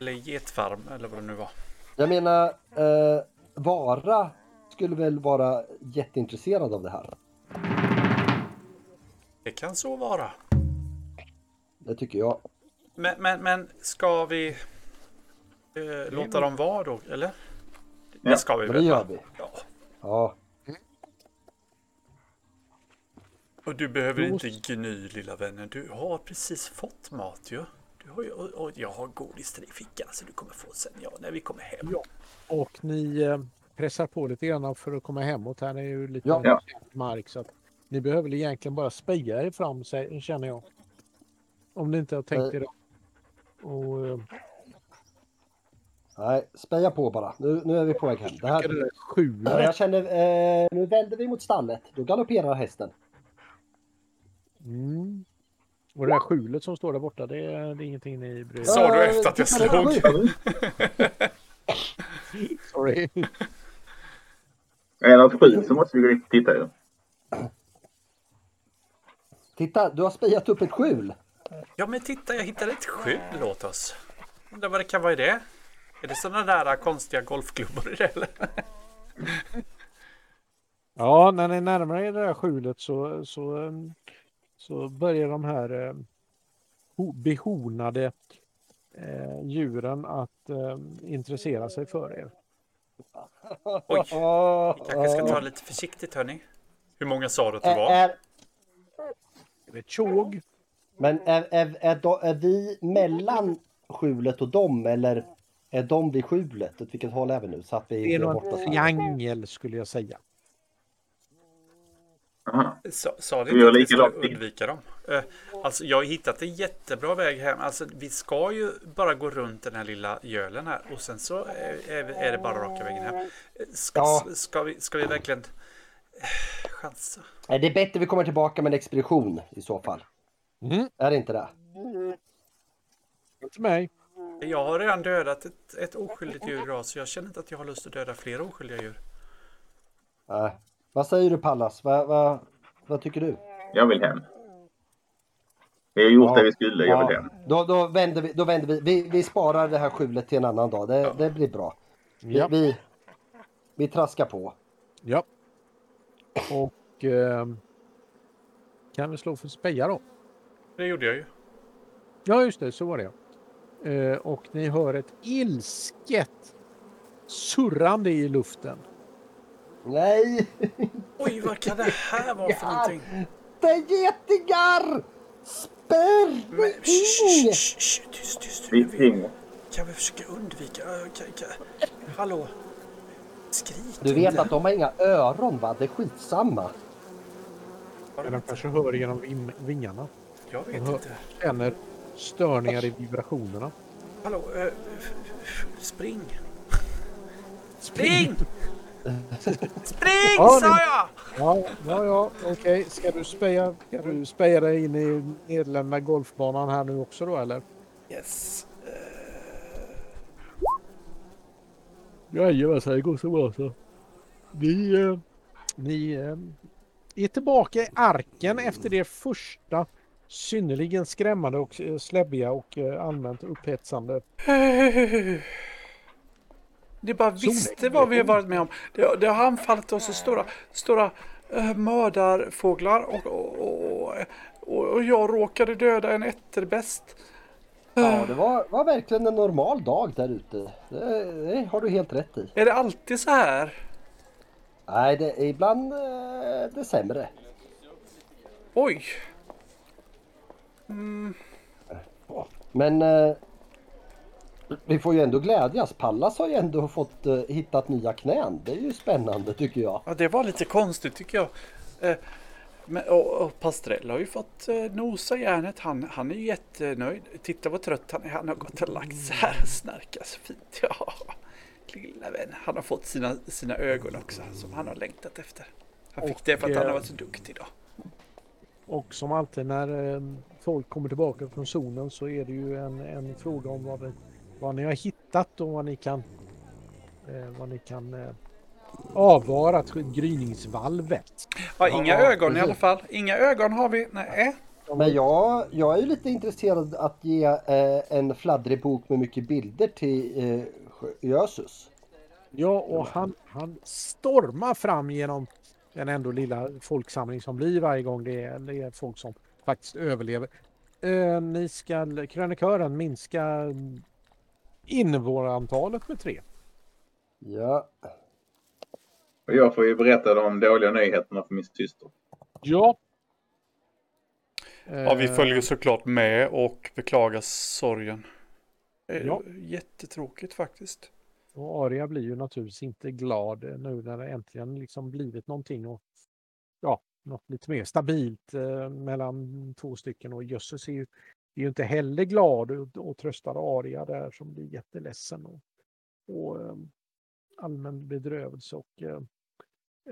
Eller getfarm, eller vad det nu var.
Jag menar, eh, Vara skulle väl vara jätteintresserad av det här.
Det kan så vara.
Det tycker jag.
Men, men, men ska vi eh, låta dem vara då, eller? Det
Ja,
ska vi
Men
väl?
det
va?
gör vi.
Ja.
Ja,
Och du behöver
Jo,
inte gny lilla vännen. Du har precis fått mat ju. Du har ju och, och jag har godis till dig i fickan så du kommer få sen ja, när vi kommer hem.
Ja. Och ni eh, pressar på lite grann för att komma hemåt. Här är ju lite
Ja.
Ja.
mark så att ni behöver väl egentligen bara speja er fram sig, känner jag. Om ni inte har tänkt er det. Och, eh,
nej, speja på bara. Nu, nu är vi på väg hem. Det
är det
här,
där sju
jag känner, eh, nu vänder vi mot stallet. Då galopperar hästen.
Mm. Och det där skjulet som står där borta, det är, det är ingenting ni bryr er om.
Så- Sa du
Eh,
efter att jag
titta, det
slog?
var sjukt.
[LAUGHS] Sorry.
Är det ett skjut så måste vi gå dit och titta ju.
Titta, du har spejat upp ett skjul.
Ja men titta jag hittade ett skjul åt oss. Undrar vad det kan vara i det? Är det sådana där äh, konstiga golfklubbor i det eller?
Ja, när ni närmar er det där skjulet så, så, ehm, så börjar de här ehm, ho- behornade eh, djuren att ehm, intressera sig för er.
Oj,
Åh,
kanske ska ta det lite försiktigt hörni. Hur många sa du att det
är,
var?
är,
Det är ett tjog.
men är, är, är, då- är vi mellan skjulet och dem eller är de vid skjulet? Åt vilket håll är vi nu? Så att vi
Det är
blir
nog
borta
en
så här.
triangel skulle jag säga.
Aha.
Sa, sa ni
Vi
inte att
gör
vi skulle
likadant.
undvika dem? Eh, Alltså jag har hittat en jättebra väg hem. Alltså vi ska ju bara gå runt den här lilla gölen här och sen så är, är, vi- är det bara raka vägen hem. Eh, Ska,
Ja.
s- ska, vi, ska vi verkligen eh, chansa?
Nej, Det är bättre vi kommer tillbaka med en expedition i så fall.
Mm.
Är det inte det?
Inte mig.
Jag har redan dödat ett, ett oskyldigt djur idag så jag känner inte att jag har lust att döda fler oskyldiga djur.
Nej. Vad säger du Pallas? Vad, vad, vad tycker du?
Jag vill hem. Vi har gjort
Ja.
det vi skulle, jag vill
Ja,
hem.
Då, då vänder vi. Då vänder vi. vi. Vi sparar det här skjulet till en annan dag. Det, det blir bra. Vi,
Ja.
vi, vi traskar på.
ja. Och ehm, kan vi slå för speja då?
Det gjorde jag ju.
Ja, just det, så var det ja. Eh, Och ni hör ett ilsket surrande i luften.
Nej!
Oj, vad kan det här vara för
Ja.
någonting?
Det är getingar!
Men, shh, shh, shh,
Spärring!
shh, tyst, tyst.
Vi ringer.
Kan vi försöka undvika? Ö, Kan, kan. Hallå? Skrik
Du vet att de har inga öron va? Det är skitsamma.
Men de kanske hör genom vim- vingarna.
Jag vet
Hör-
inte.
Känner störningar i vibrationerna.
Hallå, eh, f- f- spring! Spring! Spring
Ja,
sa
nu-
jag!
Ja, ja, ja okej. Ska du speja, ska du speja dig in i nedlämna golfbanan här nu också då eller?
Yes.
Jajamensan, det går så bra så. Ni, eh, ni eh, är tillbaka i arken efter det första synnerligen skrämmande och eh, släbbiga och eh, allmänt upphetsande.
Ni bara visste vad vi har varit med om. Det, det har anfallit oss i stora, stora eh, mördarfåglar och, och, och, och jag råkade döda en etterbäst.
Ja, det var, var verkligen en normal dag där ute. Det, det har du helt rätt i.
Är det alltid så här?
Nej, det är ibland eh, det sämre.
Oj!
Men eh, vi får ju ändå glädjas. Pallas har ju ändå fått eh, hittat nya knän. Det är ju spännande tycker jag.
Ja, det var lite konstigt tycker jag. Eh, Men, och, och Pastrell har ju fått eh, nosa järnet. Han, han är ju jättenöjd. Titta vad trött han är. Han har gått och lagt sig här och snarkat så fint. Ja, lilla vän. Han har fått sina, sina ögon också som han har längtat efter. Han fick det för att han har varit så duktig idag.
Och som alltid när eh, folk kommer tillbaka från zonen så är det ju en, en fråga om vad, det, vad ni har hittat och vad ni kan, eh, vad ni kan eh, avvara till gryningsvalvet.
Ja, inga
Ja,
ögon i alla
precis.
fall. Inga ögon har vi. Nej.
Men jag, jag är ju lite intresserad att ge eh, en fladdrig bok med mycket bilder till eh, Sjö- Jösus.
Ja, och han, han stormar fram genom den ändå lilla folksamling som blir varje gång det är, det är folk som faktiskt överlever. Eh, ni ska, krönikören, minska mm, invånarantalet med tre.
Ja,
Och jag får ju berätta de dåliga nyheterna för min syster.
Ja. Eh,
Ja, vi följer såklart med och beklagar sorgen. Eh,
Ja.
Jättetråkigt faktiskt.
Och Aria blir ju naturligtvis inte glad eh, nu när det äntligen liksom blivit någonting och ja, något lite mer stabilt eh, mellan två stycken och Jösses är ju, är ju inte heller glad och, och tröstar Aria där som blir jätteledsen och, och eh, allmän bedrövelse och eh,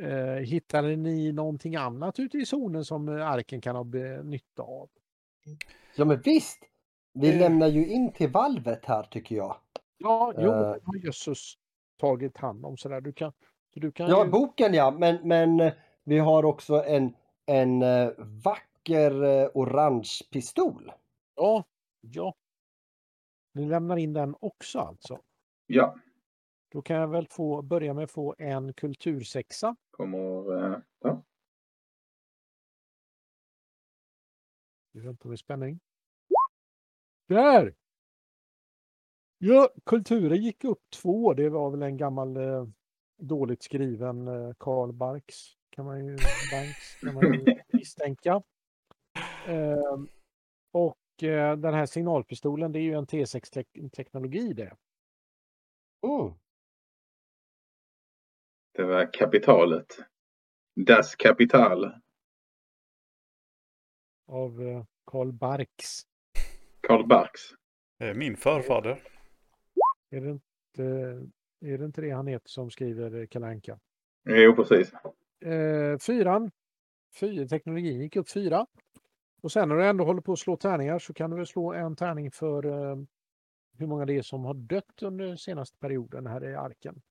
eh, hittade ni någonting annat ute i zonen som eh, arken kan ha be- nytta av?
ja men visst! Vi
Eh.
lämnar ju in till valvet här tycker jag.
Ja, jo,
Eh.
det har Jösses tagit hand om sådär. Du kan, så du kan
Ja,
ju-
boken ja, men, men eh, vi har också en, en eh, vacker eh, orange pistol.
Ja, ja. Ni lämnar in den också alltså.
Ja,
Då kan jag väl få börja med att få en kultursexa.
kommer... eh, Ja.
Vi väntar med spänning. Där! Ja, kulturen gick upp två. Det var väl en gammal eh, dåligt skriven eh, Karl Barks kan man ju, Banks, kan man ju misstänka. Eh, och eh, den här signalpistolen, det är ju en T6-teknologi det.
Mm.
Det var kapitalet. Das Kapital.
av eh, Karl Barks.
Karl Barks.
Eh, Min förfader.
Är det inte, är det, inte det han heter som skriver eh, Kalle Anka?
Jo, precis.
Eh, fyran. Fyra, teknologin gick upp fyra. Och sen när du ändå håller på att slå tärningar så kan du väl slå en tärning för eh, hur många det är som har dött under senaste perioden här i arken.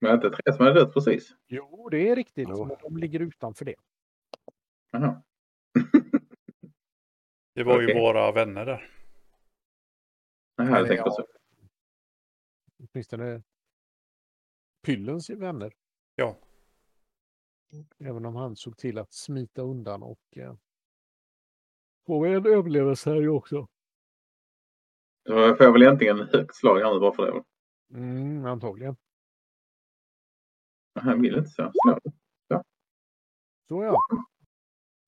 Men inte tre som hade dött precis.
Jo, det är riktigt.
Jo.
Men de ligger utanför det.
[LAUGHS] Jaha.
Det var ju
Okej.
våra vänner där.
Jaha, jag
Eller
tänkte
ja,
så.
Åtminstone Pyllens vänner.
Ja.
Även om han såg till att smita undan och eh, får vi en överlevelse här ju också.
Då får jag väl äntligen ett högt slag här nu bara för det.
Mm, antagligen.
Han vill inte så. Slå.
Så ja.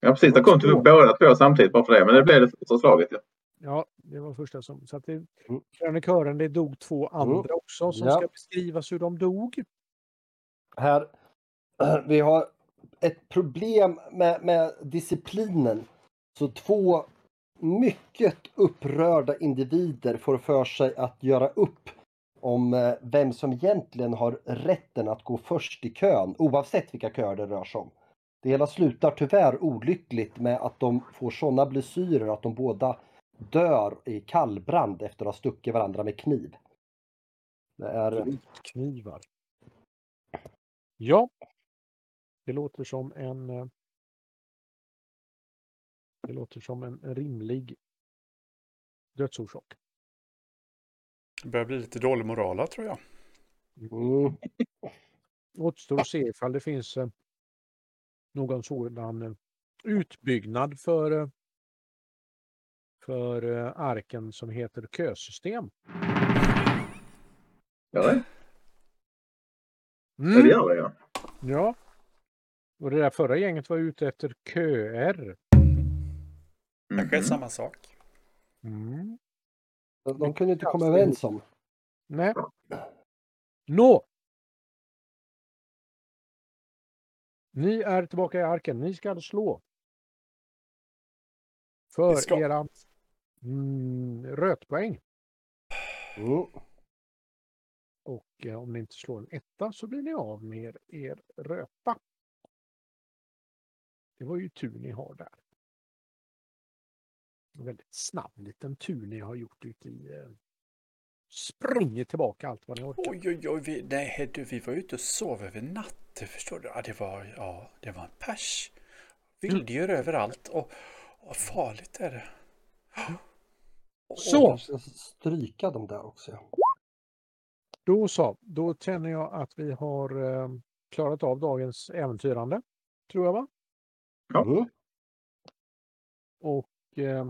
Ja, precis. Där kom typ båda två samtidigt bara för det. Men det blev det första slaget. Ja.
Ja, det var första som... Så att det, Mm. krönikören, det dog två andra också som
Ja.
ska beskrivas hur de dog.
här. [CLEARS THROAT] Vi har ett problem med, med disciplinen. Så två mycket upprörda individer får för sig att göra upp om eh, vem som egentligen har rätten att gå först i kön, oavsett vilka köer det rör sig om. Det hela slutar tyvärr olyckligt med att de får sådana blessyrer att de båda dör i kallbrand efter att ha stuckit varandra med kniv. Det är...
Knivar. Ja. Det låter som en... eh, Det låter som en rimlig dödsorsak.
Det börjar bli lite dålig moral här, tror jag.
Mm.
Återstår att se ifall det finns eh, någon sådan eh, utbyggnad för, eh, för eh, arken som heter kösystem.
Ja, det- Mm. ja, det gör vi ja.
Mm, Ja. Och det där förra gänget var ute efter köer.
Kanske är
Mhm.
samma sak.
Mm.
De kunde inte komma överens om.
Nej. Nå! Ni är tillbaka i arken. Ni ska slå. För
Vi ska.
era mm, rötpoäng.
Mm.
Och eh, om ni inte slår en etta så blir ni av med er röta. Det var ju tur ni har där. En väldigt snabb liten tur ni har gjort ute i... Eh, springer tillbaka allt vad ni orkar.
Oj, oj, oj. Vi, nej, du, vi var ju ute och sov över natten, förstår du? Ja, det var, ja, det var en pers. Vilddjur överallt och, och farligt är det.
Så!
Jag ska stryka dem där också. ja.
Då så, då känner jag att vi har eh, klarat av dagens äventyrande. Tror jag va?
Ja.
Mm.
Och eh,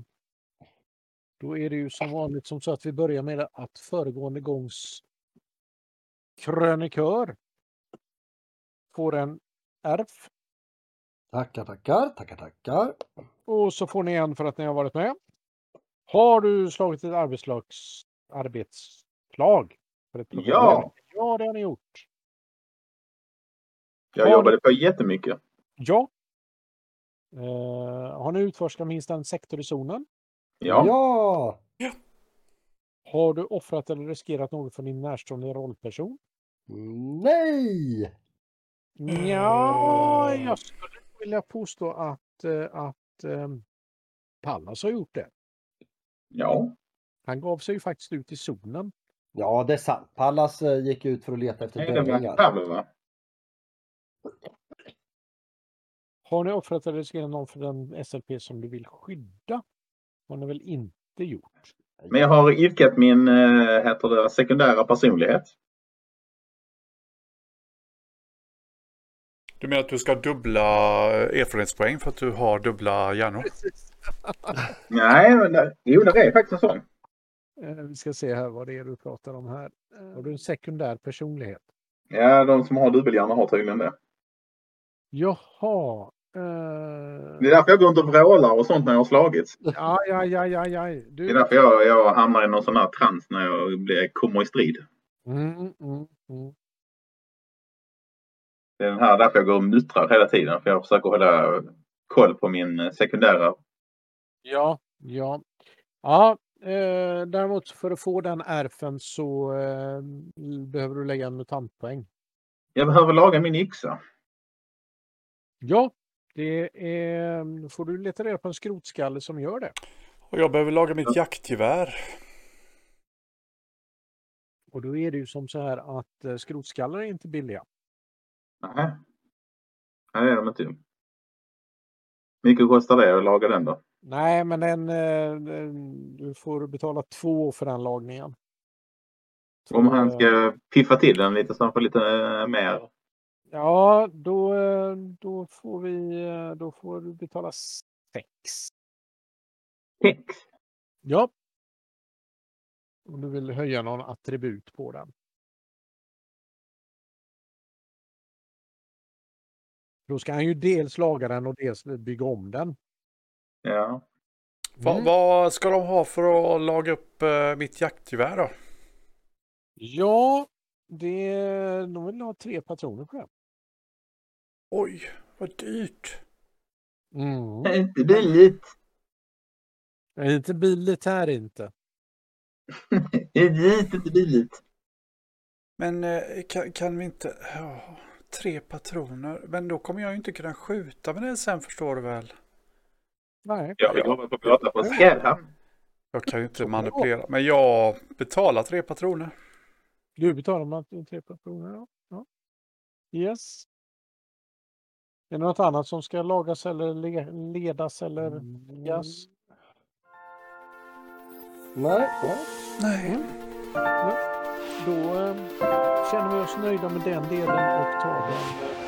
då är det ju som vanligt som så att vi börjar med att föregående gångs krönikör får en ärf
Tackar, tackar, tackar, tackar.
och så får ni en för att ni har varit med. Har du slagit ett arbetslags, arbetslag? För ett problem?
Ja.
ja, det har ni gjort.
Jag jobbade på jättemycket.
Ja. Eh, har ni utforskat minst en sektor i zonen?
Ja.
ja.
Har du offrat eller riskerat något för din närstående rollperson?
Nej!
Ja,
Mm.
jag skulle vilja påstå att, eh, att eh, Pallas har gjort det.
Ja.
Han gav sig ju faktiskt ut i zonen.
Ja, det är sant. Pallas eh, gick ut för att leta efter
Nej, det var
dödingar.
Pavel va?
Har ni offrat eller riskerat någon för den SLP som du vill skydda? Har ni väl inte gjort?
Men jag har idkat min eh, heter det, sekundära personlighet.
Du menar att du ska ha dubbla erfarenhetspoäng för att du har dubbla hjärnor?
Nej, men det, jo, det är faktiskt en sån.
Eh, Vi ska se här vad det är du pratar om här. Eh, Har du en sekundär personlighet?
Ja, de som har dubbelhjärna har tydligen det.
Jaha. eh,
Det är därför jag går runt och vrålar och sånt när jag har slagits.
Aj, aj, aj, aj, aj.
Det är
Du...
därför jag, jag hamnar i någon sån här trans när jag blir, kommer i strid.
Mm, mm, mm.
Det är den här därför jag går och muttrar hela tiden. För jag försöker hålla koll på min eh, sekundära.
Ja, ja. Ja, eh, däremot för att få den ärfen så eh, behöver du lägga en mutantpoäng.
Jag behöver laga min yxa.
Ja, det är, får du leta reda på en skrotskalle som gör det.
Och jag behöver laga mitt jaktgevär.
Och då är det ju som så här att eh, skrotskallar är inte billiga.
Nej. Nej, det är de inte. Mycket kostar det att laga den då?
Nej, men den, eh, den- du får betala två för den lagningen.
Om
Så,
han
eh,
ska piffa till den lite så han får lite eh, mer.
Ja, då, eh, då får vi, eh, då får du betala sex.
Text.
Ja. Om du vill höja någon attribut på den. Då ska han ju dels laga den och dels bygga om den.
Ja.
Va,
Mm.
Vad ska de ha för att laga upp eh, mitt jaktgevär då?
Ja, det, de vill ha tre patroner på den.
Oj, vad dyrt.
Mm.
Det är inte billigt.
Det är inte billigt här inte.
Det är dit, inte billigt.
Men eh, kan, kan vi inte... ja, tre patroner. Men då kommer jag ju inte kunna skjuta med den sen förstår du väl.
Nej.
Jag vill hoppa på att prata på Skärhamn.
Jag kan ju inte manipulera. Men jag betalar tre patroner.
Du betalar man tre personer. Ja. ja. Yes. Är det något annat som ska lagas eller le- ledas eller läggas?
Nej, nej.
Nej.
Då eh, känner vi oss nöjda med den delen och tar den